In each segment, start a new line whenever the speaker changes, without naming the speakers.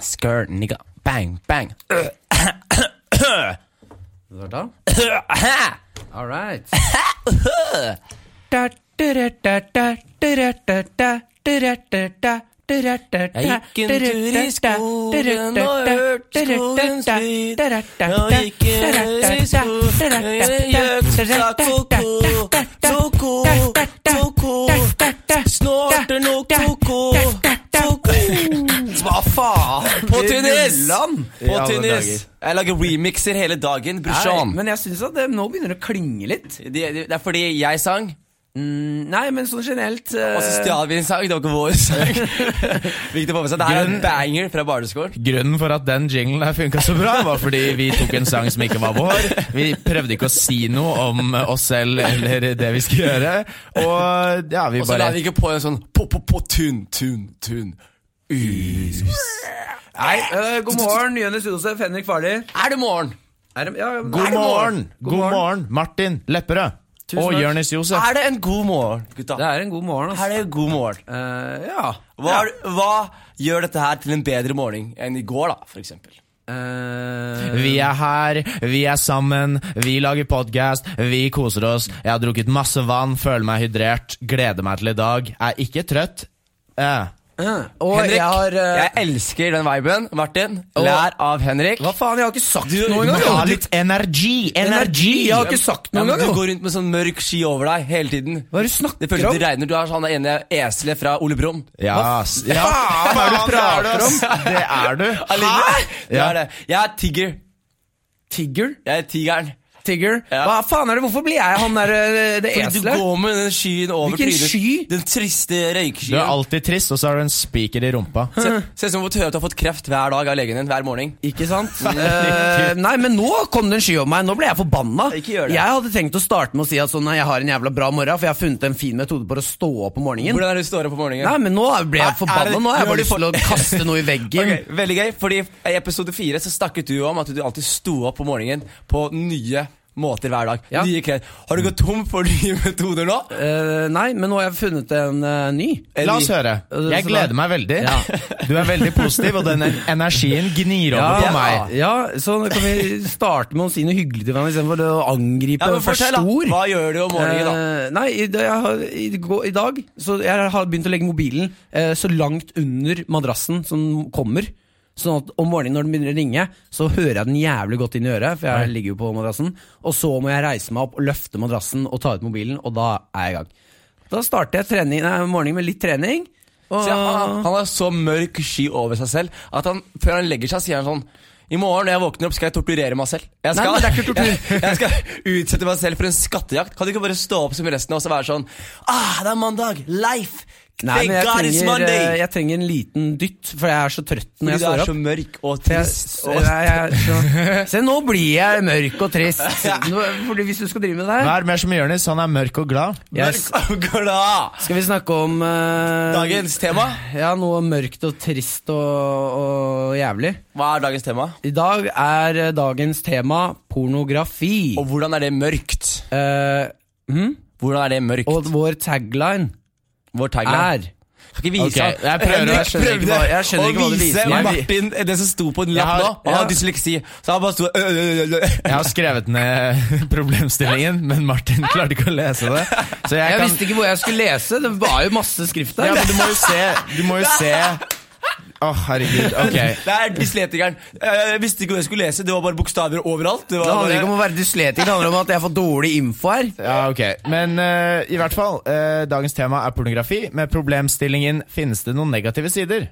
Skirt, nigga. Bang, bang. Var det da? All right.
Jeg gikk en tur i skogen og hørte skogens lyd. Jeg gikk en tur i skogen, en gjøksak og ko. Toko, toko, snorter nok toko, toko. Hva faen? På
I
Tunis!
Nulland?
På
alle
Tunis.
dager.
Jeg lager remixer hele dagen, brorsan.
Nei, men jeg syns at det, nå begynner det å klinge litt.
Det, det, det er fordi jeg sang,
Nei, men sånn generelt eh,
og så stjal vi en sang. Det var ikke vår sang. Viktig å få med seg. Det her er en banger fra barneskolen.
Grunnen for at den jinglen her funka så bra, var fordi vi tok en sang som ikke var vår. Vi prøvde ikke å si noe om oss selv eller det vi skulle gjøre. Og ja, vi
Og så la
bare
vi ikke på en sånn på-på-på-tun-tun-tun.
Nei, eh, god morgen, Jonis Josef, Henrik Farli.
Er det morgen?
Er det- ja, ja, men er
God
det
morgen! God morgen, Martin Lepperød. Og
takk.
Jonis Josef.
Er det en god morgen, gutta?
Det er en god morgen, altså.
Er det en god morgen?
Eh, ja.
Hva, hva gjør dette her til en bedre morgen enn i går, da, for eksempel?
Eh,
Vi er her, vi er sammen, vi lager podkast, vi koser oss. Jeg har drukket masse vann, føler meg hydrert, gleder meg til i dag. Er ikke trøtt. Eh.
eh, og
Henrik,
jeg har eh,
jeg elsker den viben. Martin, lær av Henrik.
Hva faen, jeg har ikke sagt
Du-
noe
Du
engang!
må ha
jo.
litt energi! Energi!
Jeg har ikke sagt
Ja,
noe
men
engang!
du
jo.
går rundt med sånn mørk sky over deg hele tiden.
Hva er det
Det
du snakker
føles som
om?
det regner. Du er sånn det ene eselet fra Ole Brumm.
Ja, s- ja. Hva
Faen,
er det
faen,
du prater om? Det er du.
Hæ?! Det
Ja.
altså? er det. Jeg er tigger.
Tigger?
Jeg er tigeren.
Tigger?
Ja.
Hva faen er det? Hvorfor blir jeg han der eh,
Fordi
det
du
eselet?
går med den skyen over
Hvilken
trynet.
sky?
Den triste
Du er
røykskyen.
alltid trist, og så har du en spiker i rumpa.
Se- Ser ut som om du har fått kreft hver dag av legen din. hver morgen
Ikke sant? Eh, nei, men nå kom det en sky over meg. Nå ble jeg forbanna.
Ikke gjør det.
Jeg hadde tenkt å starte med å si at sånn, nei, jeg har en jævla bra morgen, for jeg har funnet en fin metode for å stå opp om morgenen.
Hvordan er det du står opp om morgenen?
Nei, men nå ble
Er-
jeg
er
forbanna.
det-
Nå
nå er
har jeg bare
det
lyst til å
for-
kaste noe i veggen.
Ok, veldig gøy, fordi i episode 4 så snakket du om at du alltid sto opp om morgenen på nye måter hver dag.
Ja.
Nye klær. Har du gått tom for nye metoder nå?
Eh, nei, men nå har jeg funnet en eh, ny.
La oss høre. Jeg gleder meg veldig.
Ja.
Du er veldig positiv, og den energien gnir over på
ja,
meg.
ja, så nå kan vi starte med å si noe hyggelig til hverandre istedenfor å angripe
Ja, men
og være
fortell, da.
stor.
Hva gjør du om morgenen, da?
Eh, nei, i, da- jeg har, i, gå- i dag Så jeg har begynt å legge mobilen eh, så langt under madrassen som kommer. Sånn at om morgenen når den begynner å ringe, så hører jeg den jævlig godt inn i øret. For jeg ligger jo på madrassen Og så må jeg reise meg opp og løfte madrassen og ta ut mobilen, og da er jeg i gang. Da starter jeg trening, nei, morgenen med litt trening. Og,
Se, han, han har så mørk sky over seg selv at han, før han legger seg, sier han sånn i morgen når jeg våkner opp, skal jeg torturere meg selv. Jeg skal,
Nei, men det er ikke tortur.
Jeg, jeg skal utsette meg selv for en skattejakt. Kan du ikke bare stå opp som resten av oss og være sånn Ah, det er mandag! Life!
nei,
Thank
men jeg
God it's
trenger,
Monday!
eh, jeg trenger en liten dytt, for jeg er så trøtt når
Fordi
jeg
du
står
er
opp.
så mørk og
Jeg,
trist. Og
jeg, jeg, så, se, nå blir jeg mørk og trist. Nå, fordi hvis du skal drive med det her
Vær mer som Jonis, han er mørk og glad.
Yes.
mørk og glad.
Skal vi snakke om eh,
Dagens tema.
Ja, noe mørkt og trist og, og jævlig.
Hva er dagens tema?
I dag er eh, dagens tema pornografi.
Og hvordan er det mørkt?
Eh, hm?
Hvordan er det mørkt?
Og vår tagline
Vår tagline.
er
Skal ikke vise
Ok, jeg
han.
prøver,
Henrik
jeg
skjønner ikke hva- jeg skjønner
prøvde
ikke hva du
å
viser. Jeg-
vise Martin det som sto på en
Jeg
lapp
har-
nå. Han
ja.
har dysleksi, så han bare sto øh, øh, øh, øh.
Jeg har skrevet ned problemstillingen, men Martin klarte ikke å lese det. Så jeg,
Jeg
kan
visste ikke hvor jeg skulle lese. Det var jo masse skrift
Ja,
der.
men du må jo se Du må jo se Å, herregud. Ok.
Det er dyslektikeren. Jeg jeg visste ikke hva jeg skulle lese, det var bare bokstaver overalt. Det
Det
var
handler
bare,
ikke om å være dysletiker, det handler om at jeg får dårlig info her.
Ja, ok. Men eh, i hvert fall, eh, dagens tema er pornografi. Med problemstillingen 'Finnes det noen negative sider?'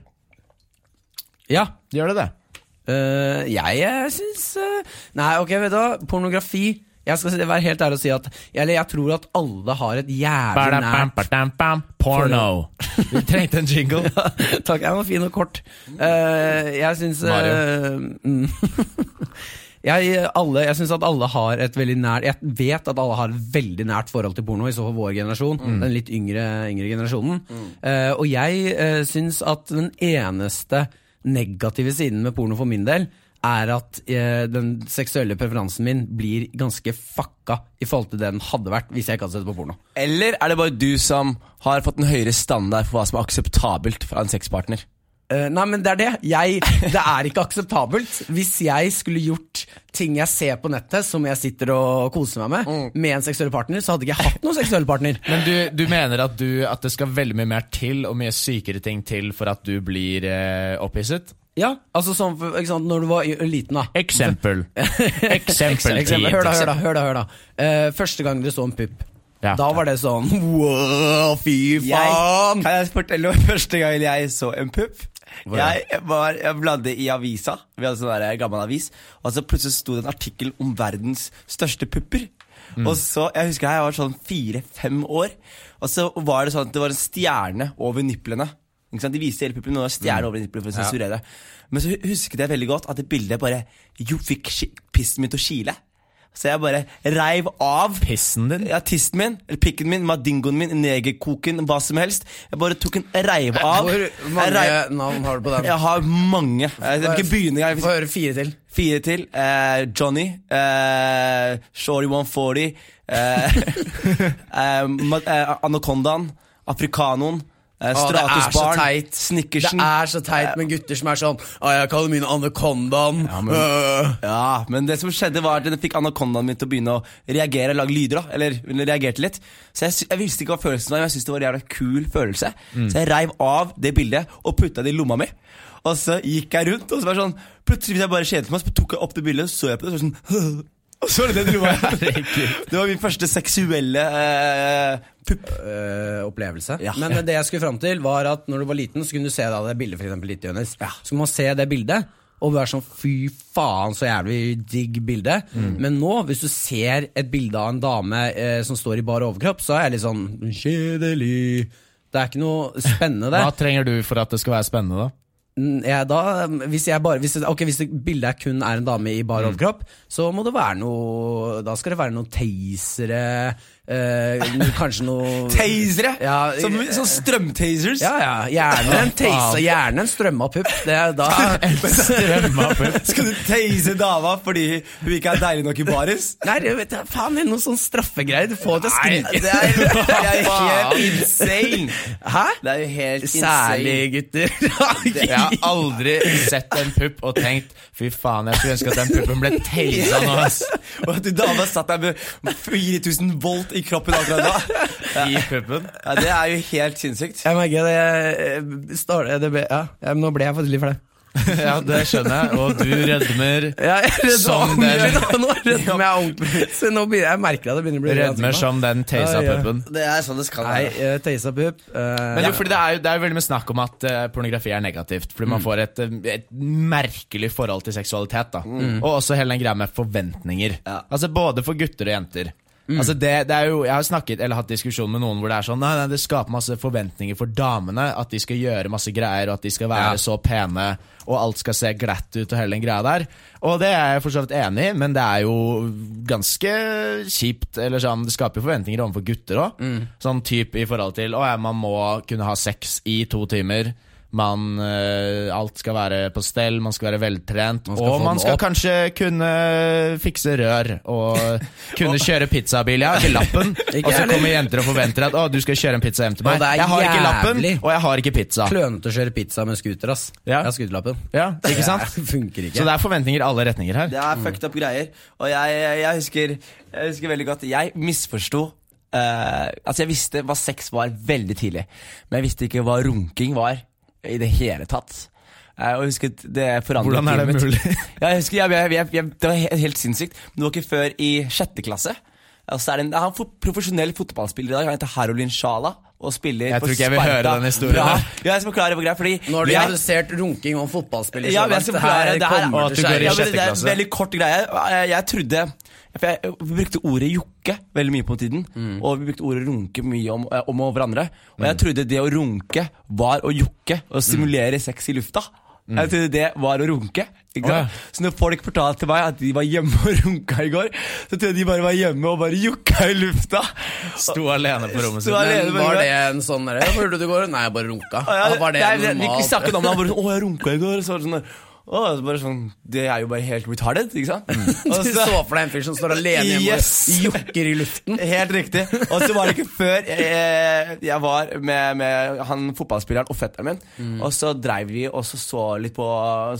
Ja
Gjør det det?
Eh, jeg jeg syns eh, Nei, ok, vet du hva. Pornografi Jeg skal si- være helt ærlig og si at Eller jeg tror at alle har et jævlig nært
Ba-da-bam-ba-dam-bam. Porno. Vi trengte en jingle.
Takk, den var fin og kort. Eh, jeg syns eh, mm. Jeg, alle, jeg syns at alle har et veldig nært Jeg vet at alle har et veldig nært forhold til porno, i så fall vår generasjon. Den litt yngre, yngre generasjonen. Eh, og jeg uh, syns at den eneste negative siden med porno for min del er at eh, den seksuelle preferansen min blir ganske fucka i forhold til det den hadde vært hvis jeg ikke hadde sett på porno.
Eller er det bare du som har fått en høyere standard for hva som er akseptabelt fra en sexpartner?
Eh, nei, men det er det. Jeg, det er ikke akseptabelt hvis jeg skulle gjort ting jeg ser på nettet som jeg sitter og koser meg med, med en seksuell partner, så hadde ikke jeg hatt noen seksuell partner.
Men du, du mener at, du, at det skal veldig mye mer til og mye sykere ting til for at du blir eh, opphisset?
Ja, altså sånn, for- ikke sant, når du var y- liten da.
Eksempel. Eksempel.
Eksempel. Hør da, hør da, hør da. Hør da. Eh, første gang dere så en pupp,
Ja.
da var det sånn wow, fy faen!
Jeg, kan jeg fortelle om første gang jeg så en pupp? Jeg, var, jeg bladde i avisa, vi hadde sånn der gammel avis, og så plutselig sto det en artikkel om verdens største pupper.
Mm.
Og så, Jeg husker jeg var sånn fire-fem år, og så var det sånn at det var en stjerne over nipplene. Ikke sant? De viste hele puppen, men det var en stjerne
Mm.
over nipplene for å sensurere. Men så husket jeg veldig godt at det bildet bare jo, fikk sk- pissen min til å kile. Så jeg bare reiv av
Pissen din?
ja, tissen min, eller pikken min, madingoen min, negerkoken, hva som helst. Jeg bare tok en reiv av.
Eh, Hvor
Jeg
mange
reiv-
navn har du på den?
Jeg har mange. Eh, Jeg vil ikke begynne engang.
Få høre fire til.
Fire til. Eh, Johnny. Eh, Shorty 140. Eh, eh, ma- eh, Anacondaen. Afrikanoen. Eh,
Å, det er så
Stratusbarn.
teit. Det
Snickersen.
er så teit med gutter som er sånn Å, jeg kaller mine anakondaen. øh.
Ja, men det som skjedde var at den fikk anakondaen min til å begynne å reagere, lage lyder da, eller, eller reagerte litt. Så jeg, sy- jeg visste ikke hva følelsen var, men jeg syntes det var en jævla kul følelse.
Mm.
Så jeg reiv av det bildet og putta det i lomma mi. Og så gikk jeg rundt, og så var det sånn, plutselig hvis jeg bare kjedet meg, så tok jeg opp det bildet, og så så jeg på det, og så var det sånn, og så var det det i lomma. det var min første seksuelle eh, pupp.
eh, opplevelse.
Ja.
Men det jeg skulle fram til, var at når du var liten, så kunne du se da det bildet, for eksempel, litt, Jonas. Så kunne man se det bildet, og være sånn fy faen, så jævlig digg bilde. Men nå, hvis du ser et bilde av en dame eh, som står i bar overkropp, så er jeg litt sånn kjedelig. Det er ikke noe spennende
Hva
der.
trenger du for at det skal være spennende, da?
Mm, Jeg, da, hvis, jeg bare, hvis, det- ok, hvis det bildet er kun er en dame i bar overkropp, så må det være noe Da skal det være noen tasere, eh, no- kanskje noe
Tasere!
Ja,
som, sånn som strømtasers.
Ja, ja. Gjerne en teise,
faen.
gjerne en strømma pupp. Det er da
Strømma pupp.
Skal du tase dama fordi hun ikke er deilig nok i baris?
Nei, jeg vet da faen, det er noen sånn straffegreier. Du får det til å skrike.
Det er, det er jo
Faen.
helt insane.
Hæ?
Det er jo helt
Særlig
insane.
gutter.
Jeg har aldri sett en pupp og tenkt Fy faen, jeg skulle ønske at den puppen ble teisa nå, ass.
Og at du dama satt der med 4000 volt i kroppen akkurat da.
I puppen.
Ja, det er jo helt sinnssykt.
Jeg merker det. Jeg, eh, står, det ble, ja, ja, men nå ble jeg faktisk litt flau.
Ja, det skjønner jeg. Og du rødmer.
Ja, jeg redder
Som
ordentlig
den-
nå. Nå redder jeg ordentlig. Så nå begynner, jeg merker at det begynner å bli
Rødmer som den teisa
Ja, ja.
puppen.
Det er sånn det skal
Nei, eh, teisa pupp. eh,
Men jo, fordi det er jo, det er jo veldig mye snakk om at eh, pornografi er negativt. Fordi
Mm.
man får et, eh, et merkelig forhold til seksualitet. da
Mm.
Og også hele den greia med forventninger.
Ja.
Altså Både for gutter og jenter.
Mm.
Altså det, det er jo, Jeg har snakket eller hatt diskusjon med noen hvor det er sånn Nei, nei, det skaper masse forventninger for damene. At de skal gjøre masse greier, og at de skal være
Ja.
så pene. Og alt skal se glatt ut, og hele den greia der. Og det er jeg for så vidt enig i, men det er jo ganske kjipt. Eller sånn, Det skaper jo forventninger overfor gutter òg.
Mm.
Sånn type i forhold til Å ja, man må kunne ha sex i to timer. Man, eh, alt skal være på stell, man skal være veltrent.
skal få
og man
den
skal
opp.
kanskje kunne fikse rør. Og kunne kjøre pizzabil. Jeg har ikke lappen. og så
heller.
kommer jenter og forventer at å, du skal kjøre en pizza hjem til
Og
meg.
det er
Jeg har ikke lappen,
jævlig.
og jeg har ikke pizza.
Klønete å kjøre pizza med scooter, ass.
Ja.
Jeg har scooterlappen.
Ja, ikke sant?
Det funker ikke.
Så det er forventninger i alle retninger her.
Det er fucked up greier. Og jeg, jeg, husker, jeg husker veldig godt Jeg misforsto eh, Altså, jeg visste hva sex var veldig tidlig, men jeg visste ikke hva runking var i det hele tatt. Eh, og jeg husket det forandret
Hvordan er det
livet mitt.
mulig?
ja, jeg husker, jeg, jeg, jeg, jeg, det var helt, helt sinnssykt. Men det var ikke før i sjette klasse. Og så er det en, han er en profesjonell fotballspiller i dag. Han heter Harolin Sjala. Og spiller
Jeg
for
tror ikke jeg vil høre
Sparta.
den historien
Bra.
der.
Ja, jeg skal forklare hvor greit, fordi
Nå har du
jeg-
redusert runking og fotballspiller.
ja, men jeg
så
skal
langt.
forklare det her
kommer
Og at du
til å
går i
skje.
ja, men Det er en
klasse.
veldig kort greie Eh, Jeg- Jeg trodde for jeg eh, brukte ordet jokke veldig mye på tiden Og vi brukte ordet runke mye om, eh, om hverandre Og jeg trodde det å runke var å jokke Og simulere sex i lufta Jeg trodde det var å runke ikke
Å, ja.
sant? Så når folk fortalte til meg at de var hjemme og runka i går Så trodde jeg de bare var hjemme og bare jokka i lufta
Sto alene på rommet
Sto
sitt.
alene.
Men
Men
var
det-
det en sånn derre Hvor hørte du i går? Nei, jeg bare runka.
Og jeg-
Altså, var det
nei, vi- Vi
normalt?
snakket om det, han bare sånn, Å, jeg runka i går. Og så var det sånn der, Å, det er bare sånn Det er jo bare helt retarded, ikke sant?
Mm. Du
Og
så for deg en fyr som står alene hjemme
Yes.
og jokker i luften.
Helt riktig. Og så var det ikke før eh, jeg var med, med han fotballspilleren og fetteren min.
Mm.
Og så dreiv vi og så så litt på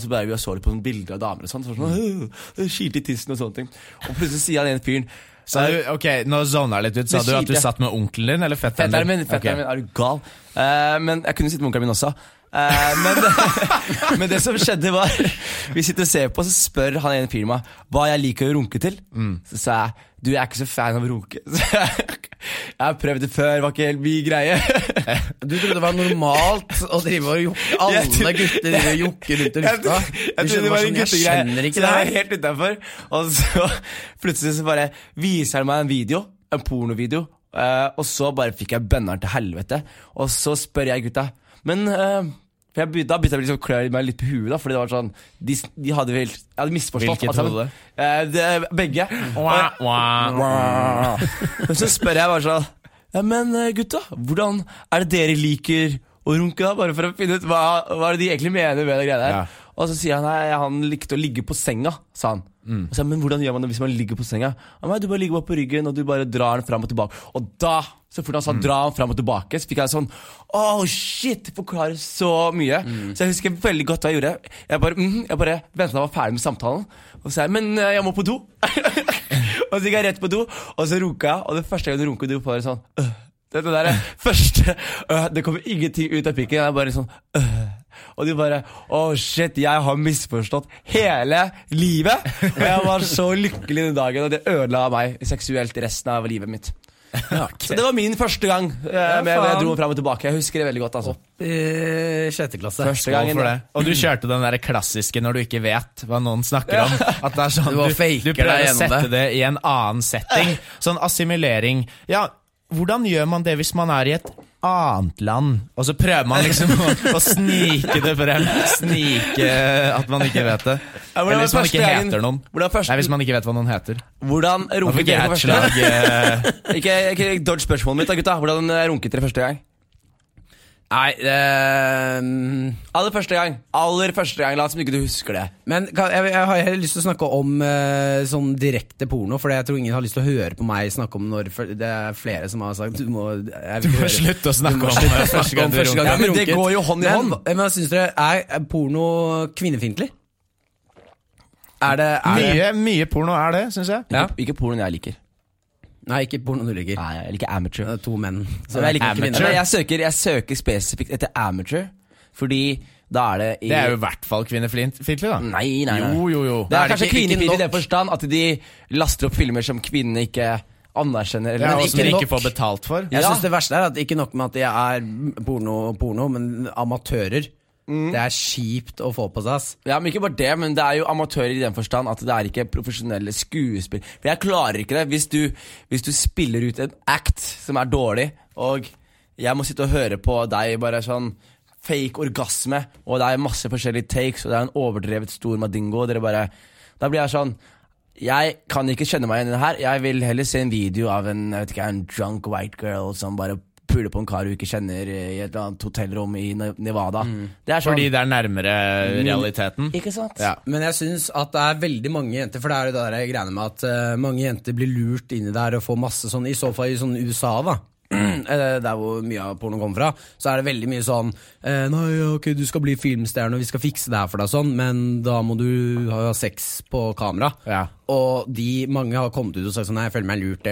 Så dreiv vi og så litt på noen bilder av damer og sånn. Så var det sånn «Åh, Skilte i tissen og sånne ting. Og plutselig sier han ene fyren
Sa du, ok, Nå zoner jeg litt ut. Sa
Det
du at du
kjipe-
satt med onkelen din eller fetteren
Fetteren
din?
min, fetteren
Ok.
min, er du gal? Eh, men jeg kunne sitte med onkelen min også. Eh, men, men det som skjedde, var Vi sitter og ser på, så spør han ene fyren meg hva jeg liker å runke til. Så sa jeg du, jeg er ikke så fan av å runke. Så jeg, jeg har prøvd det før, var ikke helt min greie.
Du trodde det var normalt å drive og jokke Alle
Jeg tror-
gutter driver og jokker rundt i
Jeg,
lufta.
trodde-
Du
jeg trodde det
skjønner
var en
bare sånn, Jeg
guttegreie,
skjønner
så
ikke det
jeg
her.
var helt utenfor Og så plutselig så bare viser han meg en video, en pornovideo, eh, og så bare fikk jeg bønneren til helvete. Og så spør jeg gutta Men eh, for jeg, begynte- da begynte jeg liksom å klø meg litt på huet, da, fordi det var sånn De, de hadde vel Jeg hadde misforstått.
Hvilket
alt sammen.
hode?
Eh, det, begge.
Wah, wah, wah.
Men så spør jeg bare sånn Ja, men eh, gutta, hvordan er det dere liker å runke da? Bare for å finne ut hva, hva er det de egentlig mener med det greia der.
Ja.
Og så sier han nei, han likte å ligge på senga, sa han. Og så, sa jeg, men hvordan gjør man det hvis man ligger på senga? Han, nei, du bare ligger bare på ryggen og du bare drar den fram og tilbake. Og da, så fort han sa dra den fram og tilbake, så fikk jeg sånn Oh shit! det Forklarer så mye. Så jeg husker veldig godt hva jeg gjorde. Jeg bare, mm, jeg bare ventet til han var ferdig med samtalen. Og så sa jeg men eh, jeg må på do. og så gikk jeg rett på do, og så runka jeg. Og det første gang du runker, du får en sånn øh. Det det der er første øh, Det kommer ingenting ut av pikken. Det er bare sånn øh. Og de bare Å, shit, jeg har misforstått hele livet! Og jeg var så lykkelig den dagen, og det ødela meg seksuelt resten av livet mitt. Så det var min første gang eh, med, med jeg dro fram og tilbake. Jeg husker det veldig godt. altså
I sjette klasse.
Første
Skål
gangen
for det. Og du kjørte den der klassiske når du ikke vet hva noen snakker om. At det er sånn,
Du bare
du,
faker
du prøver
deg
å
gjennom
sette
det.
det i en annen setting. Sånn assimilering. Ja, hvordan gjør man det hvis man er i et annet land? Og så prøver man liksom å, å snike det frem. Snike at man ikke vet det.
Ja, hvordan var
Eller hvis man
første
ikke
gangen-
heter noen.
Hvordan, første,
Nei, hvis man ikke vet hva noen heter.
hvordan
Da
runket
fikk
dere
jeg
for
et
første gang?
slag. eh,
Ikke, ikke dodge spørsmålet mitt, da, gutta. Hvordan eh, runket dere første gang?
Nei, eh,
Aller første gang. ehm, Aller første gang, La oss som ikke du husker det.
men kan, jeg, jeg har heller lyst til å snakke om eh, sånn direkte porno, for jeg tror ingen har lyst til å høre på meg snakke om når for, Det er flere som har sagt Du må, jeg vil
Du
ikke
må
høre.
slutte å snakke om eh, første gang
om
du
første gang
runker.
Ja, men det
runket.
går jo hånd i hånd.
Men, men syns dere er er porno kvinnefiendtlig? Er det, er det
Mye, mye porno er det, syns jeg.
Ja.
Ikke, ikke porno jeg liker.
Nei, ikke porno du liker.
Nei, jeg liker amateur.
Det er to menn.
Så jeg liker ikke
Amateur.
kvinner. Nei, jeg søker, jeg søker spesifikt etter amateur, fordi da er det i
Det er jo i hvert fall kvinnefintlig, da.
Nei, nei, nei.
Jo, jo, jo.
Det er,
Da er det
kanskje
ikke- ikke
kvinnefiendtlig i den
nok.
forstand at de laster opp filmer som kvinnene ikke anerkjenner.
Ja,
Eller
Men
og
ikke
som de
nok.
ikke får betalt for.
Jeg
Ja.
synes det verste er at ikke nok med at de er porno, porno men amatører. Det er kjipt å få på seg, ass.
Ja, men ikke bare det, men det er jo amatører i den forstand at det er ikke profesjonelle skuespill. For jeg klarer ikke det hvis du, hvis du spiller ut en act som er dårlig, og jeg må sitte og høre på deg bare sånn fake orgasme, og det er masse forskjellige takes, og det er en overdrevet stor madingo, og dere bare Da blir jeg sånn jeg kan ikke kjenne meg igjen i det her. Jeg vil heller se en video av en, jeg vet ikke, en drunk white girl som bare puler på en kar hun ikke kjenner i et eller annet hotellrom i Ne- Nevada. Det er sånn.
Fordi det er nærmere realiteten.
Ikke sant?
Ja.
Men jeg syns at det er veldig mange jenter For det er jo det der greiene med at eh, mange jenter blir lurt inn i det her og får masse sånn I så fall i sånn USA, da. eh, Der hvor mye av pornoen kommer fra, så er det veldig mye sånn eh, Nei, ja, ok, du skal bli filmstjerne, og vi skal fikse det her for deg, og sånn, men da må du ha sex på kamera.
Ja.
Og de mange har kommet ut og sagt sånn Nei, jeg føler meg lurt,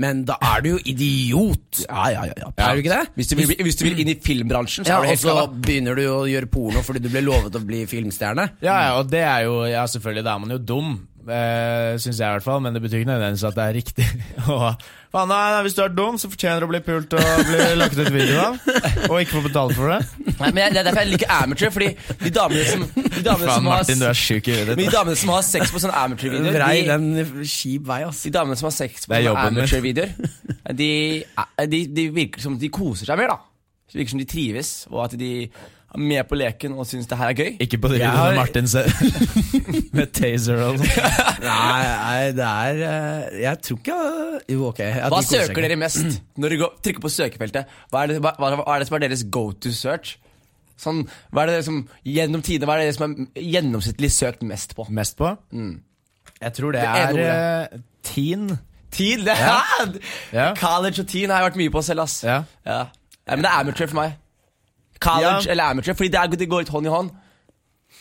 men da er du jo idiot!
Ja, ja, ja, ja.
Er du ikke det?
Hvis du vil, hvis du vil inn i filmbransjen, så
Ja,
er du
og
helt
så
skada.
begynner du å gjøre porno fordi du ble lovet å bli filmstjerne.
Ja, ja, og det er jo Ja, selvfølgelig, da er man jo dum, eh, syns jeg i hvert fall, men det betyr ikke nødvendigvis at det er riktig. og faen, nei, nei, hvis du er dum, så fortjener du å bli pult og bli lagt ut video av, og ikke få betalt for det.
Nei, men jeg, Det er derfor jeg liker amateur, fordi de damene som, de damene
Faen,
som,
Martin, du
har,
er sjuk i huet
men
ditt.
de damene som har sex på sånne amateurvideoer
Vrei
de,
den kjip vei, ass.
de damene som har sex på
Det er
sånne
jobben min.
amateurvideoer, de, de, de virker som de koser seg mer, da. Det virker som de trives, og at de er med på leken og syns det her er gøy.
Ikke på det
Jeg
videoen
har-
av Martin selv. Med taser og sånn.
Nei, nei, det er eh, Jeg tror ikke jeg- Jo, ok. ja,
Hva
de koser seg
søker dere mest når dere går, trykker på søkefeltet? Hva er det, hva, hva er det som er deres go to search? Sånn, hva er det som Gjennom tidene, hva er det som er gjennomsnittlig søkt mest på?
Mest på? Jeg tror Mm. det,
Det ene
er eh, teen.
Teen! Det
Ja.
College og teen har jeg vært mye på selv, ass.
Ja.
Ja. Ja, men det er amateur for meg. College
Ja.
eller amateur, fordi det, er, det går litt hånd i hånd.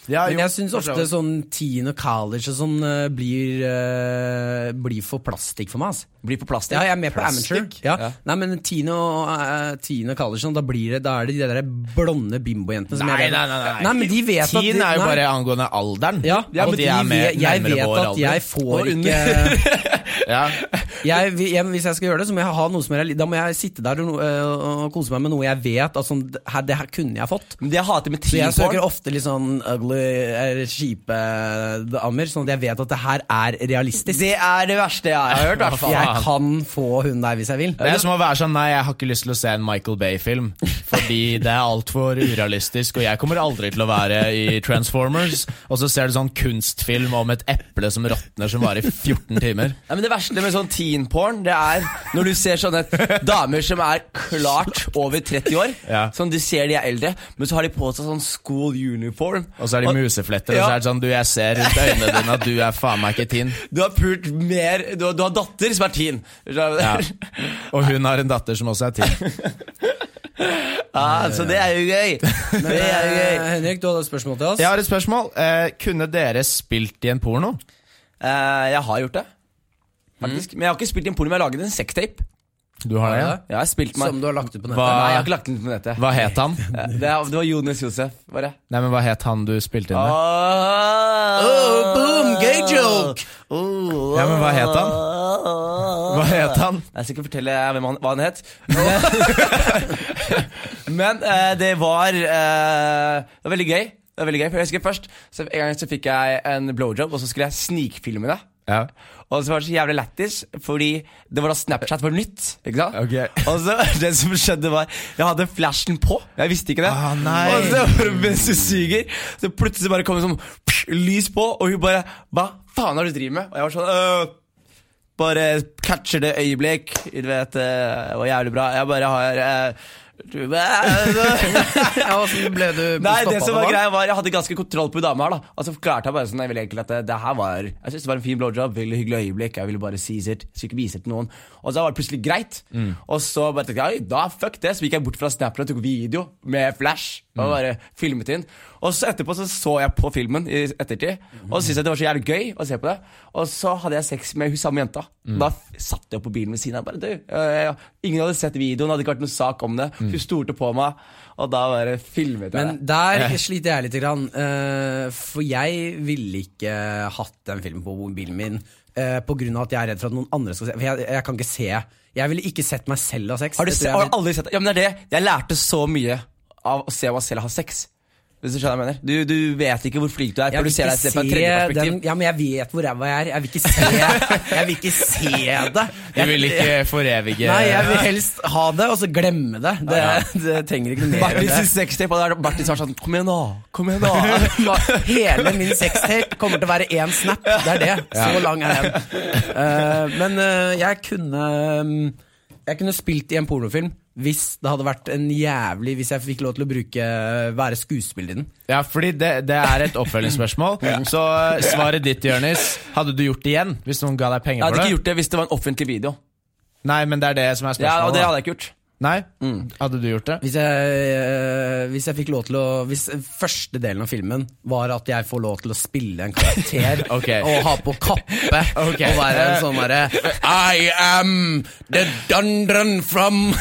Ja,
Men
jo,
jeg syns
for så
ofte
vidt.
sånn teen og college og sånn eh, blir, eh, blir for plastikk for meg. Altså.
Blir på plastikk.
Ja, jeg er med på
Plastikk?
amateur. Ja.
Ja.
Nei, men Tine og, eh, Tine og Kallersen, da, blir det, da er det de der blonde bimbojentene som
Nei,
jeg er
nei, nei, nei.
nei, men de vet at
Teen
de,
er jo
nei.
bare angående alderen.
ja,
og
men
de, er med,
vet- Jeg
nærmere
vet
vår
at
alder.
jeg får
Og under.
ikke
Ja.
jeg, vil- jeg, Hvis jeg skal gjøre det, så må jeg ha noe som jeg, Da må jeg sitte der og, øh, og kose meg med noe jeg vet at sånn, det her, det her kunne jeg fått.
Men det jeg hater med
Så jeg søker
teen-porn
ofte litt sånn ugly, eller kjipe damer, sånn at jeg vet at det her er realistisk.
Det er det verste jeg har hørt. i hvert fall.
jeg kan få hun der hvis jeg vil.
Det er som å være sånn Nei, jeg har ikke lyst til å se en Michael Bay-film. Fordi det er altfor urealistisk, og jeg kommer aldri til å være i Transformers. Og så ser du sånn kunstfilm om et eple som råtner, som varer i 14 timer.
Ja, men Det verste med sånn teen-porn, det er når du ser sånne damer som er klart over 30 år.
Ja.
Sånn, Du ser de er eldre, men så har de på seg sånn school uniform.
Og så er de musefletter, og så er det sånn Du, jeg ser rundt øynene dine at du er faen meg ikke teen.
Du har pult mer Du har, du har datter som er teen.
Ja.
Ja.
Og hun har en datter som også er teen.
Ah, så det er jo gøy. Det er jo
Eh,
gøy.
Henrik, du hadde et spørsmål til oss.
Jeg har et spørsmål. Eh, kunne dere spilt i en porno?
Eh, jeg har gjort det, faktisk. Men jeg har ikke spilt inn porno, men jeg har laget en sextape.
Du har det, ja?
Jeg har spilt meg
Som du har lagt ut på nettet.
Hva-
Nei, jeg har ikke lagt den ut på nettet.
Hva het han?
Eh, Det, er, det var Jonis Josef, var det. Ah.
Nei, men hva het han du spilte inn med?
Oh,
boom, gay joke.
Ja, men hva het han? Hva het han?
Jeg skal ikke fortelle hvem han, hva han het. Men eh, det var eh, Det var veldig gøy. Det var veldig gøy, for jeg husker først så En gang så fikk jeg en blowjob, og så skulle jeg snikfilme det.
Ja.
Og så var det så jævlig lættis, fordi det var da Snapchat var nytt. Ikke sant?
Ok.
Og så det som skjedde var Jeg hadde flashen på. Jeg visste ikke det.
Ah, nei.
Og så bare mens du suger, så plutselig bare kom det sånn psh, lys på, og hun bare Hva faen har du drevet med? Og jeg var sånn øh, Bare catcher det øyeblikk. Du vet, øh, det var jævlig bra. Jeg bare har øh, du, øh,
Ja, hvordan ble du
Nei, det
stoppet
som
av
var
det?
greia var Jeg hadde ganske kontroll på hun dama her da Og så forklarte jeg bare sånn Jeg ville egentlig at det, det her var Jeg synes det var en fin blowjob Veldig hyggelig øyeblikk Jeg ville bare si sitt Skulle ikke vise det til noen Og så var det plutselig greit
Mm.
Og så bare tenkte jeg «Oi, Da fuck det Så gikk jeg bort fra Snapchat Og tok video Med flash
Mm.
Og bare filmet inn Og så etterpå så så jeg på filmen I ettertid Og så synes jeg det var så jævlig gøy Å se på det Og så hadde jeg sex med hun samme jenta
Mm.
Da f- satt jeg opp på bilen ved siden av Bare du øh, Ingen hadde sett videoen Det hadde ikke vært noen sak om det Hun stolte på meg Og da bare filmet jeg det
Mm. Men der sliter jeg lite grann. eh, for jeg ville ikke hatt den filmen på mobilen min eh, på grunn av at jeg er redd for at noen andre skal se. For jeg, jeg kan ikke se Jeg ville ikke sett meg selv ha sex.
Har du,
Det
se,
tror
har
jeg
du aldri sett det? Ja, men det er det. Jeg lærte så mye av å se meg selv ha sex. Hvis du skjønner hva jeg mener. Du, du vet ikke hvor flink du er.
Jeg
for
vil
du ser
ikke
deg selv fra et
se
tredjeperspektiv.
den, ja, men jeg vet hvor ræva jeg er. Jeg vil ikke se, jeg vil ikke se det.
Du vil ikke forevige
Nei, jeg vil helst ha det, og så glemme det. Det, det trenger ikke noe mer enn det.
Bartis sextape hadde vært Bartis var sånn Kom igjen, da! Kom igjen, da!
Ma- Hele min sextape kommer til å være én snap. Det er det. Så lang er den. Eh, men eh, jeg kunne mm, Jeg kunne spilt i en pornofilm hvis det hadde vært en jævlig Hvis jeg fikk lov til å bruke være skuespiller i den.
Ja, fordi det, det er et oppfølgingsspørsmål. Så eh, svaret ditt, Jonis, hadde du gjort det igjen hvis noen ga deg
Jeg
penger
hadde ikke
for det?
gjort det hvis det var en offentlig video.
Nei, men det er det som er
sånn,
Ja, og
spørsmålet.
det hadde
da.
Mm. jeg ikke gjort.
Nei? Hadde du gjort det?
Hvis jeg, eh, hvis jeg fikk lov til å Hvis første delen av filmen var at jeg får lov til å spille en karakter
Ok.
og ha på kappe
Ok.
og være en sånn derre I am the dundrun from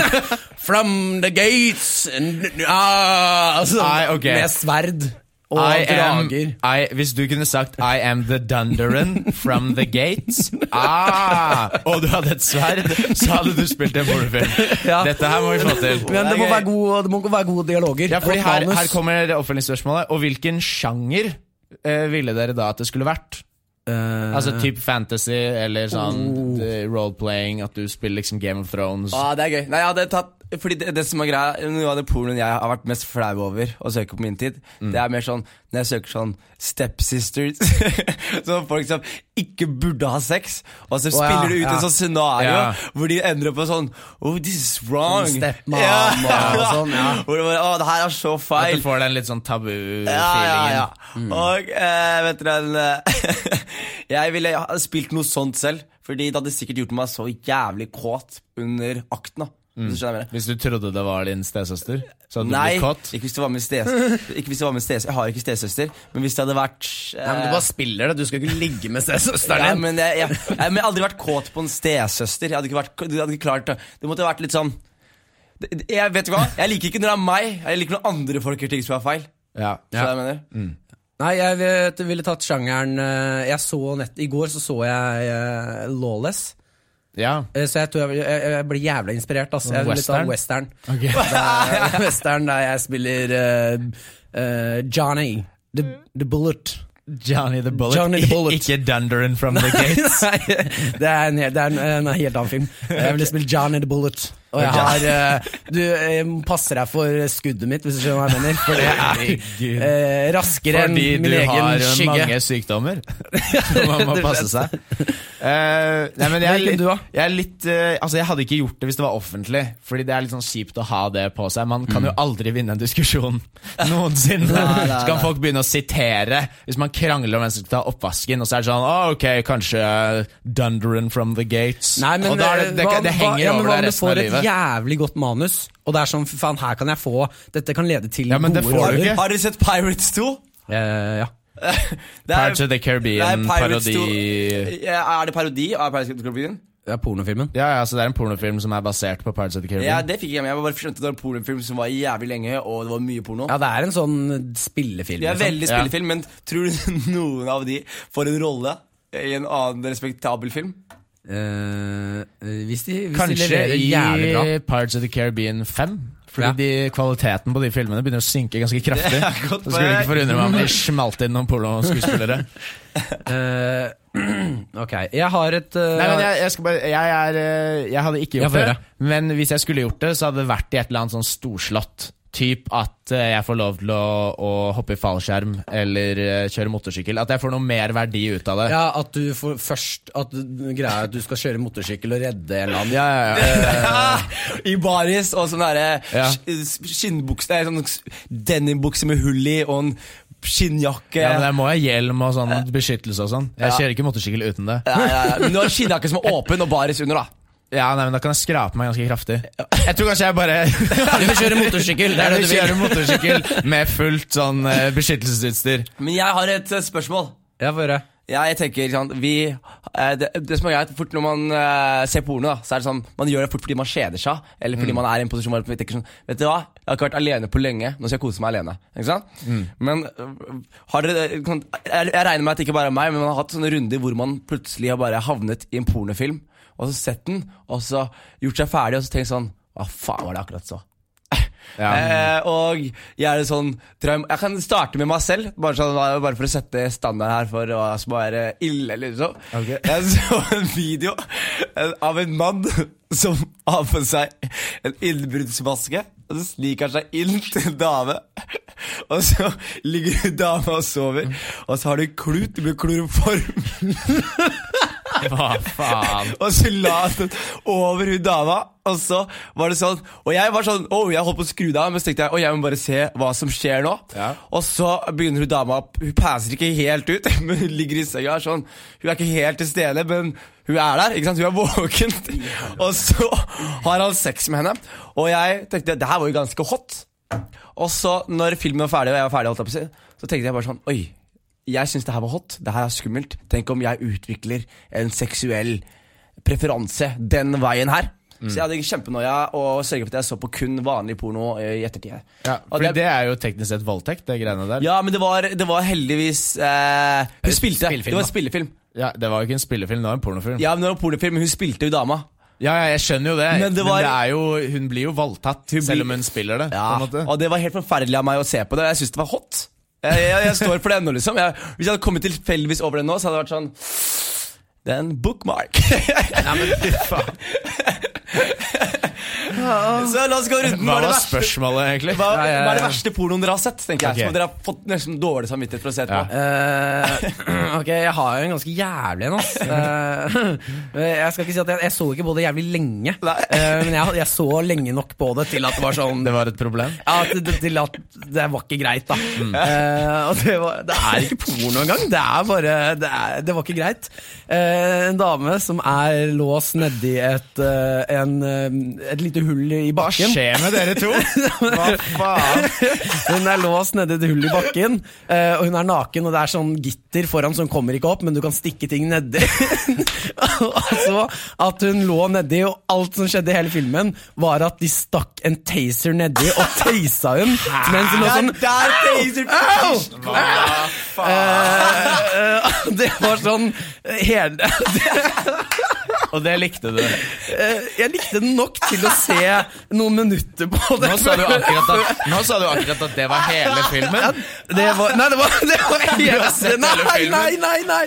From the gates and, ah, altså,
Nei, ok.
Med sverd og
I am,
drager.
I, hvis du kunne sagt 'I am the dunderan from the gates' ah, og du hadde et sverd, så hadde du spilt en pornofilm.
Ja.
Dette her må vi få til.
Men det må være gode, det må være gode dialoger.
Ja, fordi
godt
her,
manus.
her kommer oppfølgingsspørsmålet. Og hvilken sjanger eh, ville dere da at det skulle vært?
Eh,
Altså typ fantasy eller sånn
oh.
eh, role-playing, at du spiller liksom Game of Thrones.
Ah, det er gøy. Nei, jeg hadde tatt fordi det, det som er greia Noe av det pornoen jeg har vært mest flau over å søke på min tid,
Mm.
det er mer sånn når jeg søker sånn stepsisters Sånn folk som ikke burde ha sex, og så
ja,
spiller du ut
ja.
et sånt scenario
Ja.
hvor de endrer opp på sånn Oh, this is wrong.
Sånn stepmom og sånn, ja.
Hvor det bare, Å, det her er så
At
feil.
du får den litt sånn tabu-feelingen.
Ja, ja, ja.
Mm.
Og eh, vet dere eh, Jeg ville ha spilt noe sånt selv, Fordi det hadde sikkert gjort meg så jævlig kåt under akten. da
Mm.
Hvis du skjønner hva jeg mener.
Hvis du trodde det var din stesøster, så hadde du
Nei,
blitt kåt.
ikke hvis det var med stes Ikke hvis det var med stes Jeg har ikke stesøster, men hvis det hadde vært eh,
Nei, men Du bare spiller det, du skal ikke ligge med
ja,
stesøsteren din.
men jeg, jeg, jeg, men jeg har aldri vært kåt på en stesøster. Jeg hadde ikke vært, du hadde ikke klart det. Det måtte vært litt sånn det- det- Jeg vet du hva, jeg liker ikke når det er meg. Jeg liker når andre folk gjør ting som er feil.
Ja.
Så jeg mener
Nei, jeg vet, ville tatt sjangeren eh, Jeg så nett, I går så så jeg eh, Lawless.
ja.
Eh, Så jeg tror jeg, vil- jeg, jeg blir jævla inspirert. Altså. Jeg vil litt
Western?
av western.
Ok.
Der, western der jeg spiller eh, eh, Johnny the, the Bullet.
Johnny the Bullet.
Johnny the Bullet.
Ikke Dunderin from the Gate.
Nei, det er en, hel- det er en, en helt annen film. Jeg vil spille Johnny the Bullet. Og jeg har eh, Du eh, passer deg for skuddet mitt, hvis du skjønner hva jeg mener. For det
Herregud.
er eh, raskere enn
Fordi
min
du har
egen skygge.
mange sykdommer. Så man må
rett og
passe seg. Eh, nei, men jeg, er
Hvilken
litt,
du har?
jeg er litt eh, Altså, jeg hadde ikke gjort det hvis det var offentlig, Fordi det er litt sånn kjipt å ha det på seg. Man
Mm.
kan jo aldri vinne en diskusjon noensinne.
Nei, nei,
Så kan
nei.
folk begynne å sitere hvis man krangler om hvem som skal ta oppvasken, og så er det sånn Å, ok, kanskje eh, Dunderin from the Gates.
Nei, men eh,
og da er det, det,
hva-
det henger
hva- ja, men
over
hva om
deg
du
resten av
får et
livet.
jævlig godt manus, og det er sånn, fy faen, her kan jeg få Dette kan lede til
Ja, men det
gode
får du
roller.
ikke.
Har dere sett Pirates 2?
Eh, ja.
Det er-
Pirates of
Det
the
er Pirates
Caribbean-parodi.
Ja, er det parodi av Pirates of the Caribbean?
Det er pornofilmen.
Ja, ja, så det er en pornofilm som er basert på Pirates of the
Ja,
Caribbean.
det fikk jeg med. Jeg bare skjønte at det var en pornofilm som var jævlig lenge, og det var mye porno.
Ja, det er en sånn spillefilm.
De er
liksom.
veldig spillefilm, men tror du noen av de får en rolle i en annen respektabel film?
Eh, eh, hvis de, hvis de
Kanskje
leverer jævlig bra.
i Pirates of the Caribbean 5. Fordi
Ja.
de, kvaliteten på de filmene begynner å synke ganske kraftig.
Det
Så
er godt
skulle det
poeng.
ikke forundre meg om de smalt inn noen pornoskuespillere.
Eh, ok, jeg har et eh,
Nei, men jeg, jeg, skal bare, jeg, er, eh, jeg hadde ikke
Ja,
gjort
få
det,
høre.
men hvis jeg skulle gjort det, så hadde det vært i et eller annet sånn storslått. Typ at eh, jeg får lov til å, å hoppe i fallskjerm eller eh, kjøre motorsykkel. At jeg får noe mer verdi ut av det.
Ja, at du får først At du- greia er at du skal kjøre motorsykkel og redde en eller annen.
Ja, ja, ja.
I baris og sånn derre
Eh. Ja.
sk- skinnbukse Nei, sånn s- denimbukse med hull i og en skinnjakke.
Ja, men Der må jeg ha hjelm og sånn beskyttelse og sånn. Jeg kjører ikke motorsykkel uten det.
Nei, nei, nei. Men du har en skinnjakke som er åpen, og baris under, da.
Ja, nei, men Da kan jeg skrape meg ganske kraftig. Jeg tror kanskje jeg bare
Du vil kjøre motorsykkel, det er
Jeg
det du vil.
kjører motorsykkel med fullt sånn eh, beskyttelsesutstyr.
Men jeg har et eh, spørsmål.
Ja, få høre.
Ja, jeg tenker, ikke sant vi, eh, det, det som er greit, fort når man eh, ser porno, da, så er det sånn Man gjør det fort fordi man kjeder seg, eller fordi man er i en posisjon hvor man tenker sånn Vet du hva, jeg har ikke vært alene på lenge, nå skal jeg kose meg alene. Ikke sant? Men øh, har dere kan, jeg, jeg regner med at det ikke bare er meg, men man har hatt sånne runder hvor man plutselig har bare havnet i en pornofilm, og så sett den, og så gjort seg ferdig, og så tenkt sånn Hva faen var det akkurat så?
Ja.
Eh, og jeg er litt sånn traum Jeg kan starte med meg selv, bare, sånn, bare for å sette standard her for hva som er eh, ille, liksom.
Ok.
Jeg så en video eh, av en mann som har på seg en innbruddsmaske. Og så sniker han seg inn til en dame, og så ligger hun dama og sover. Og så har du klut med kloroform,
Hva faen?
og så la han den over hun dama. Og så var det sånn Og jeg var sånn Å, jeg holdt på å skru det av, men så tenkte jeg å, jeg må bare se hva som skjer nå.
Ja.
Og så begynner hun dama opp. Hun passer ikke helt ut, men hun ligger i senga og er sånn. Hun er ikke helt til stede, men hun er der. ikke sant? Hun er våken. Og så har han sex med henne, og jeg tenkte det her var jo ganske hot. Og så, når filmen var ferdig, og jeg var ferdig, holdt jeg på å si, så tenkte jeg bare sånn Oi, jeg syns det her var hot. Det her er skummelt. Tenk om jeg utvikler en seksuell preferanse den veien her. Så jeg hadde kjempenoia og sørget for at jeg så på kun vanlig porno eh, i ettertid.
Ja,
Og
fordi
det-
det er jo teknisk sett voldtekt, det greiene der.
Ja, men det var, det var heldigvis eh, Hun spilte.
Spillefilm,
Det var
da.
spillefilm.
Ja, det var jo ikke en spillefilm, det var en pornofilm. Ja,
Ja, men det var pornofilm. Hun spilte jo dama.
ja, jeg skjønner jo det,
Men
men
det
det,
var-
er jo, hun blir jo voldtatt selv om hun spiller det.
Ja,
på en måte.
Ah, og det var helt forferdelig av meg å se på det. og Jeg syns det var hot. Jeg, jeg, jeg står for det ennå, liksom. Jeg, hvis jeg hadde kommet tilfeldigvis over det nå, så hadde det vært sånn Det er en bookmark.
Nei, men fy faen.
Så la oss gå rundt Hva,
Hva var
hva,
spørsmålet, egentlig?
hva,
Ja, ja, ja.
er det verste pornoen dere har sett? Tenker jeg
Ok.
Som dere har fått nesten dårlig samvittighet for å se etterpå.
Eh, ok, jeg har jo en ganske jævlig en, ass. Eh, jeg skal ikke si at jeg, jeg så ikke på det jævlig lenge,
Nei.
Eh, men jeg, jeg så lenge nok på det til at det var sånn
Det var et problem?
ja, til, til- til at det var ikke greit, da.
Mm.
Eh, og det, var, det er ikke porno engang. Det er bare Det, er, det var ikke greit. Eh, en dame som er låst nedi et, eh, en, eh, et lite hull i
Hva
bakken.
skjer med dere to? Hva faen?
Hun er låst nedi et hull i bakken, eh, og hun er naken, og det er sånn gitter foran som kommer ikke opp, men du kan stikke ting nedi. og så at hun lå nedi, og alt som skjedde i hele filmen, var at de stakk en taser nedi og tasa hun mens hun lå sånn
der taser
Au!
Hva faen?
Eh, eh, Det var sånn hele
Og det likte du.
eh, Jeg likte den nok til å se noen minutter på det.
Nå sa du akkurat at, nå sa du akkurat at det var hele filmen.
det var, Nei, det var, det var
sett
Nei,
hele filmen?
nei, nei! nei.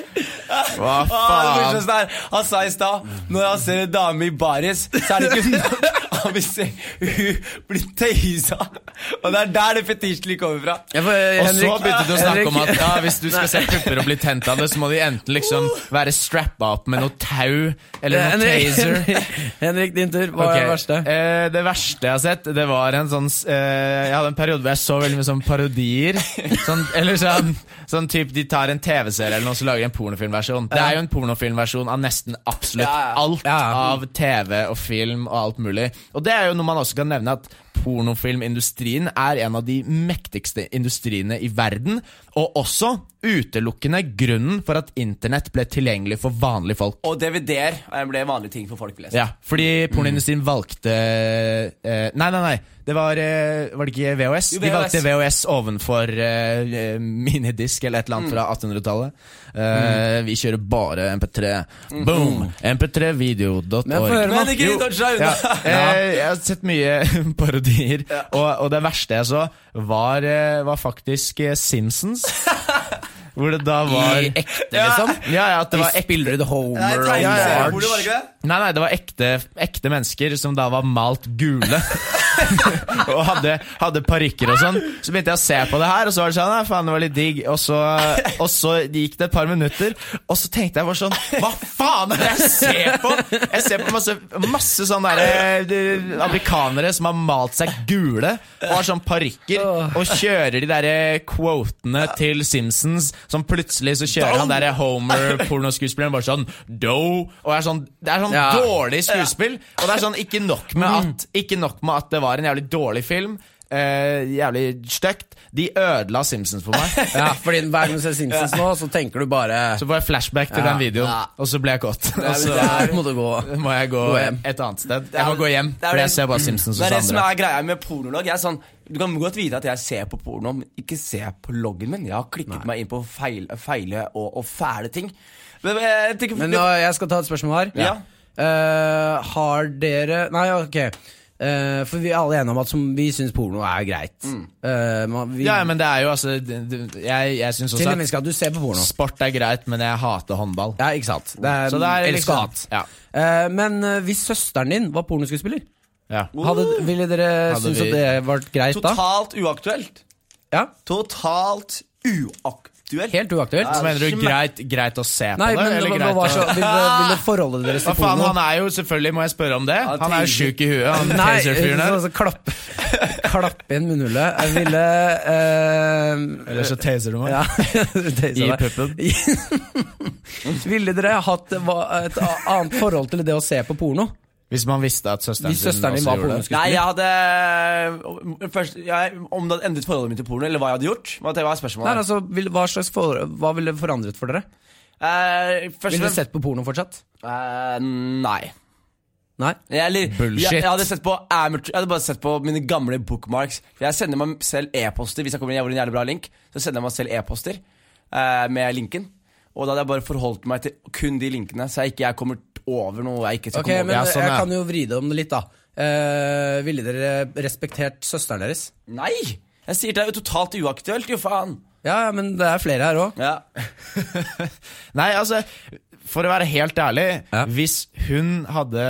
Hva
Ah, det
faen?
morsomste er, han sa i stad når han ser en dame i baris, så er det ikke noe Han vil se hun bli tøysa. Og det er der det fetisjelig kommer fra.
Jeg får-
Og så
Henrik-
begynte du å snakke om at
Henrik- Oh.
ja, hvis du skal se pupper og bli tent av det, så må de enten liksom være strappa opp med noe tau eller noe
Henrik,
taser.
Henrik, Henrik, din tur. Hva
Ok,
er det verste?
Eh, det verste jeg har sett, det var en sånn s- eh, Jeg hadde en periode hvor jeg så veldig mye sånn parodier. Sånn, eller sånn, sånn typ De tar en TV-serie eller noe så lager de en pornofilmversjon. Det er jo en pornofilmversjon av nesten absolutt
Ja, ja.
alt
Ja.
av TV og film og alt mulig. Og det er jo noe man også kan nevne at Pornofilmindustrien er en av de mektigste industriene i verden, og også utelukkende grunnen for at internett ble tilgjengelig for vanlige folk.
Og DVD-er ble vanlige ting for folk flest.
Ja, fordi pornoindustrien valgte eh, Nei, nei, nei. Det var, eh, var det ikke VHS?
Jo,
De
VHS.
valgte VHS ovenfor eh, minidisk eller et eller
Mm.
annet fra 1800-tallet. Eh, Vi kjører bare MP3. Boom! MP3video.org.
Men få høre,
Mm. Men ikke
Jo,
touch deg
ja,
unna!
eh, jeg har sett mye parodier, og, og det verste jeg så, var, eh, var faktisk eh, Simpsons. Hvor det da var
I ekte, liksom?
Ja, ja, at det var
De spiller ut
Det
Homer
er
og
ja.
tegneserie,
Marge.
hvor det var ikke det?
Nei, nei, det var ekte, ekte mennesker som da var malt gule. og hadde, hadde parykker og sånn. Så begynte jeg å se på det her, og så var det sånn Nei, faen, det var litt digg. Og så, og så gikk det et par minutter, og så tenkte jeg bare sånn Hva faen er det jeg ser på?! Jeg ser på masse, masse sånne der, eh, amerikanere som har malt seg gule, og har sånn parykker, og kjører de derre quotene til Simpsons, som plutselig så kjører han derre Homer-pornoskuespilleren bare sånn Do! Og er sånn, det er sånn
Ja.
dårlig skuespill. Og det er sånn, ikke nok med at Ikke nok med at det var en jævlig dårlig film. eh, jævlig stygt. De ødela Simpsons for meg.
Ja, fordi hver gang du ser Simpsons nå, så tenker du bare
Så får jeg flashback til
Ja.
den videoen, og så ble jeg kåt. Og så
Der må du gå.
må jeg gå
Gå hjem.
et annet sted. Jeg må
er-
gå hjem,
det er
for
det-
jeg ser bare Simpsons
Det
hos
er det som
andre.
er greia med pornolog. Jeg er sånn, du kan godt vite at jeg ser på porno, men ikke se på loggen min. Jeg har klikket meg inn på feil, feile og, og fæle ting. Men, men jeg tenker,
Men nå, jeg skal ta et spørsmål her.
Ja.
Eh, har dere Nei, ok. Eh, for vi er alle enige om at som vi syns porno er greit. Eh, man- vi,
Ja, ja, men det er jo altså det- det- Jeg, jeg syns
til
også
og
at
med skal du se på porno.
sport er greit, men jeg hater håndball.
Ja, ikke sant. Det er,
Så det er
elsker
liksom-
hat.
ja.
Eh, men eh, hvis søsteren din var pornoskuespiller,
Ja.
hadde, ville dere
Hadde
synes
vi-
at det var greit da?
totalt uaktuelt.
Ja,
Totalt uaktuelt.
Helt uaktuelt.
Så mener du
Smack.
greit, greit å se på
Nei,
det?
men
eller
hva, hva
greit
var
å-
så, ville, ville forholdet deres
Hva
til
faen, han
porno
er jo selvfølgelig, må jeg spørre om det? Han er jo
taser.
sjuk i huet, han
Nei,
taser-fyren der.
så, så, klapp, klapp inn munnhullet. Jeg ville eh,
Eller så taser du meg.
Ja, det
I
sa jeg.
puppen.
Ville dere hatt hva- et a- annet forhold til det å se på porno?
Hvis man visste at søsteren,
Hvis søsteren din
også
var
gjorde det.
Nei,
pornoskuespiller?
jeg hadde eh, først, jeg, Om det hadde endret forholdet mitt til porno, eller hva jeg hadde gjort? Hva hva er
Nei,
spørsmålet?
altså, vil, hva, slags for, hva ville forandret for dere?
Eh, først og
Ville dere
fremst-
sett på porno fortsatt?
Eh, Nei.
Nei?
Eller,
Bullshit.
Jeg, jeg, hadde sett på amateur, jeg hadde bare sett på mine gamle bookmarks. For jeg sender meg selv e-poster hvis jeg kommer over en jævlig bra link. Så sender jeg meg selv e-poster eh, med linken. Og da hadde jeg bare forholdt meg til kun de linkene, så jeg ikke jeg kommer over noe jeg ikke skal
Ok,
komme
men
Ja, sånn,
jeg
ja.
kan jo vride om det litt, da. Eh, ville dere respektert søsteren deres?
over. Nei! Jeg sier det er jo totalt uaktuelt, jo faen. Eh,
Ja, ja, men det er flere her òg.
Ja.
Nei, altså for å være helt ærlig,
Ja.
hvis hun hadde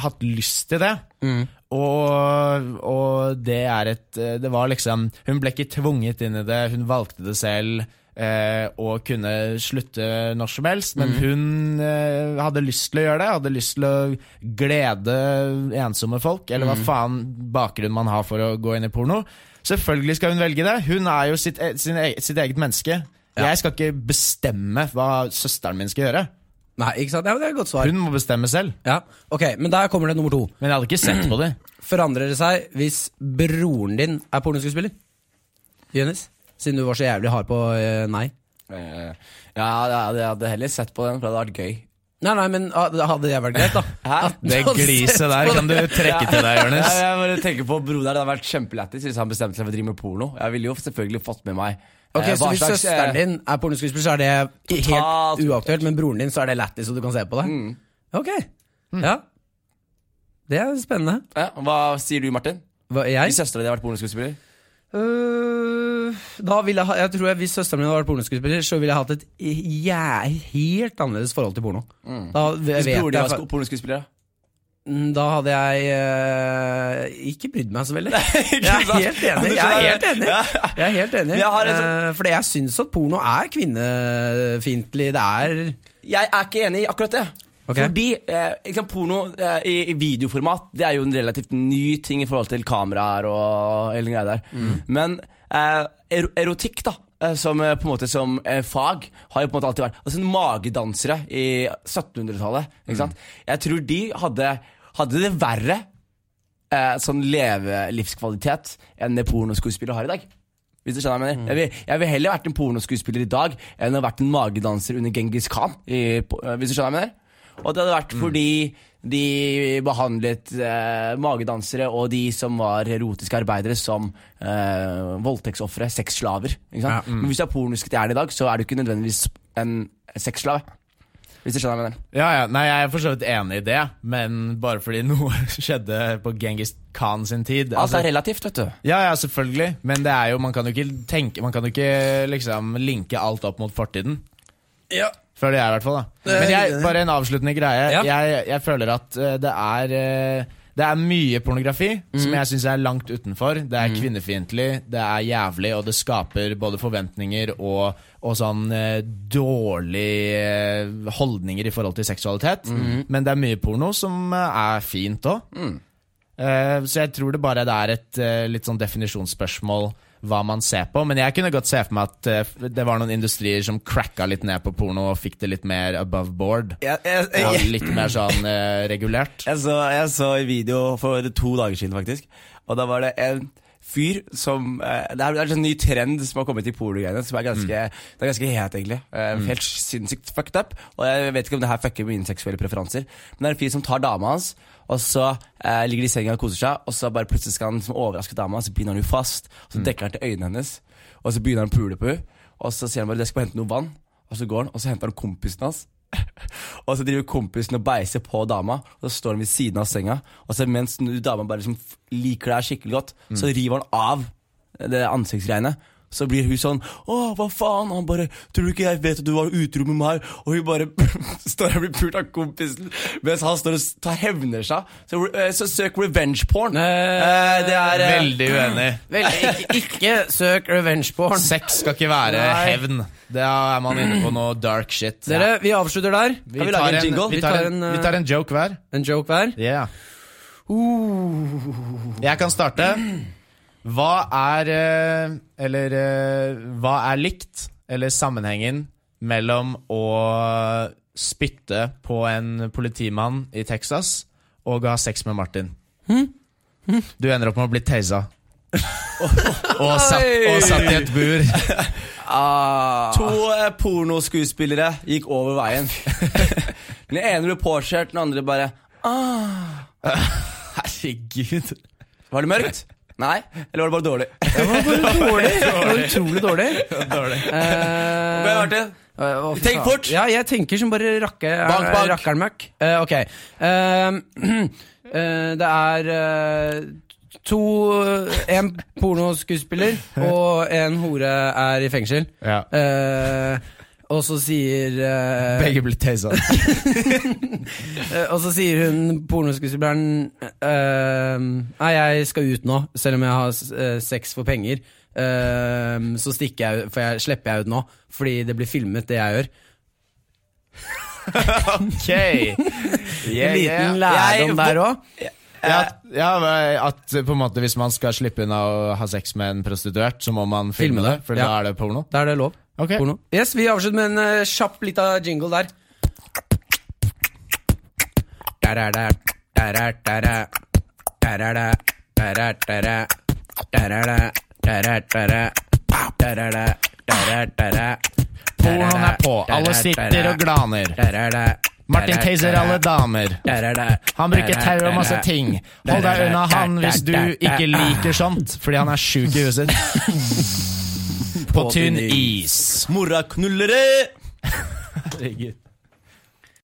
hatt lyst til det og, og det er et Det var liksom Hun ble ikke tvunget inn i det, hun valgte det selv. Eh, og kunne slutte når som helst, men
Mhm.
hun eh, hadde lyst til å gjøre det. Hadde lyst til å glede ensomme folk, eller
Mhm.
hva faen bakgrunn man har for å gå inn i porno. Selvfølgelig skal hun velge det. Hun er jo sitt, e sin e sitt eget menneske. Jeg skal ikke bestemme hva søsteren min skal gjøre.
Nei, ikke sant? Ja, men det er et godt svar.
Hun må bestemme selv.
Ja, ok, Men der kommer det nummer to.
Men jeg hadde ikke sett på det.
Forandrer det seg hvis broren din er pornoskuespiller? Jonis? Siden du var så jævlig hard på eh, nei.
Eh, Ja, jeg jeg hadde heller sett på den, for det hadde vært gøy.
Nei, nei, men ah, det hadde det vært greit, da?
Hæ?
At du hadde sett på det.
trekke til deg,
Ja, jeg bare tenker på broren der, Det hadde vært kjempelættis hvis han bestemte seg for å drive med porno. Jeg ville jo selvfølgelig fått med meg
Ok,
eh,
Så
hva
hvis
slags, eh,
søsteren din er pornoskuespiller, så er det helt
Totalt. Mm.
uaktuelt, men broren din så er det lættis, og du kan se på det? Ok, ja. Det er spennende.
ja, Hva sier du, Martin?
Hva, jeg?
Hvis søstera di hadde vært pornoskuespiller?
Øh, da ville jeg, ha- jeg tror jeg, Hvis søsteren min hadde vært pornoskuespiller, så ville jeg hatt et jæ- helt annerledes forhold til porno. Da, jeg
Mm. Hvis
vet
broren din
jeg,
var sko- pornoskuespiller, da?
Mm, da hadde jeg øh, ikke brydd meg så veldig. Jeg
ikke
er
sant?
helt
Ja,
enig.
du
Jeg er
skjønner
helt
det.
enig.
Ja.
Jeg er helt enig.
Men jeg har en sånn-
Eh, fordi jeg syns at porno er kvinnefiendtlig. Det er
Jeg er ikke enig i akkurat det.
Ok.
Fordi eh, ikke sant, porno eh, i, i videoformat Det er jo en relativt ny ting i forhold til kameraer og hele den greia der. Men eh, er, erotikk, da. eh, Som eh, på en måte som eh, fag har jo på en måte alltid vært Altså Magedansere i 1700-tallet. Ikke sant? Jeg tror de hadde, hadde det verre eh, sånn levelivskvalitet enn det pornoskuespillere har i dag. Hvis du skjønner hva jeg
Mm.
mener. Jeg vil, jeg vil heller vært en pornoskuespiller i dag enn å ha vært en magedanser under Genghis Khan. I, po- eh, hvis du skjønner hva jeg mener. Og det hadde vært
Mm.
fordi de behandlet eh, magedansere og de som var erotiske arbeidere, som eh, voldtektsofre, sexslaver. Ikke sant?
Ja, mm.
Men hvis du er pornoskriteren i dag, så er du ikke nødvendigvis en sexslave. Hvis du skjønner hva jeg mener.
Ja, ja, nei, Jeg er for så vidt enig i det, men bare fordi noe skjedde på Genghis Khan sin tid
Alt
altså,
er relativt, vet du.
Ja, ja, selvfølgelig, men det er jo, man kan jo ikke tenke Man kan jo ikke liksom linke alt opp mot fortiden.
ja.
Føler jeg, i hvert fall. da
er
Men jeg,
enig.
bare en avsluttende greie.
Ja.
Jeg, jeg føler at eh, det er eh, det er mye pornografi som jeg syns er langt utenfor. Det er kvinnefiendtlig, det er jævlig, og det skaper både forventninger og, og sånn eh, dårlige eh, holdninger i forhold til seksualitet. Men det er mye porno som eh, er fint òg. Eh, Så jeg tror det bare det er et eh, litt sånn definisjonsspørsmål hva man ser på. Men jeg kunne godt se for meg at eh, det var noen industrier som cracka litt ned på porno og fikk det litt mer above board. Ja, litt mer sånn eh, regulert.
Jeg så, jeg så en video for to dager siden, faktisk. Og da var det en fyr som eh, Det er det er en sånn ny trend som har kommet i pornogreiene, som er ganske, det er ganske het, egentlig. Eh, Helt sinnssykt fucked up. Og jeg vet ikke om det her fucker mine seksuelle preferanser, men det er en fyr som tar dama hans, og så eh, ligger de i senga og koser seg, og så bare plutselig skal han liksom overraske dama, og så binder han henne fast, og så dekker han til øynene hennes, og så begynner han å pule på henne, og så sier han bare 'jeg skal bare hente noe vann', og så går han, og så henter han kompisen hans. Og så driver kompisen og beiser på dama, og så står han ved siden av senga. Og så mens nu- dama bare liksom f- liker deg skikkelig godt, så river han av det ansiktsgreiene. Så blir hun sånn 'Å, hva faen?' Han bare 'Tror du ikke jeg vet at du var utro med meg?' Og hun bare står og blir pult av kompisen mens han står og s- tar hevner seg. Så, re- eh, så søk revenge porn. Eh, det er eh,
Veldig uenig.
øh, Vel, ikke, ikke søk revenge porn.
Sex skal ikke være
Nei.
hevn. Da er man inne på noe dark shit.
Dere, vi avslutter der.
Vi
Kan vi
tar
lage en
en,
jingle?
vi tar en,
eh,
vi tar en joke hver.
en joke hver.
Ja.
Uh.
Jeg kan starte. Hva er eh, Eller eh, hva er likt, eller sammenhengen, mellom å spytte på en politimann i Texas og å ha sex med Martin?
Hm?
Du ender opp med å bli tasa. og, satt, og satt i et bur.
To eh, pornoskuespillere gikk over veien. den ene ble påkjørt, den andre bare "Ah!"
Herregud.
Var det mørkt? Nei? Eller var det bare dårlig?
Det var bare dårlig. Det var utrolig dårlig.
Dårlig.
Eh,
Men Martin,
Eh, hva for
Tenk
faen?
fort!
Ja, jeg tenker som bare rakke,
Bank, bank.
rakkeren møkk. Eh, ok. Eh, eh, det er eh, to eh, En pornoskuespiller og en hore er i fengsel.
Ja.
Eh, Og så sier eh,
Begge blir tasa.
eh, Og så sier hun pornoskuespilleren eh, Nei, jeg skal ut nå, selv om jeg har eh, sex for penger. eh, så stikker jeg ut, for jeg slipper jeg ut nå, fordi det blir filmet, det jeg gjør.
ok! Yeah,
En
yeah.
liten lærdom
Jeg-
der òg.
Ja, at- ja, men at på en måte hvis man skal slippe unna å ha sex med en prostituert, så må man filme,
Filme det,
det, for
ja.
da er det porno.
Da er det lov.
Ok.
Porno. Yes, Vi avslutter med en eh, kjapp lita jingle der. Da-da-da, da-da-da-da, da-da-da, da-da-da-da, da-da-da, da-da-da-da, da-da-da, da-da-da-da,
Pornoen er på, alle sitter og glaner.
da-da-da,
Martin taser alle damer.
da-da-da,
Han bruker tau og masse ting. Hold deg unna han hvis du ikke liker sånt, fordi han er sjuk i huset. På tynn is.
Morraknullere!
Herregud.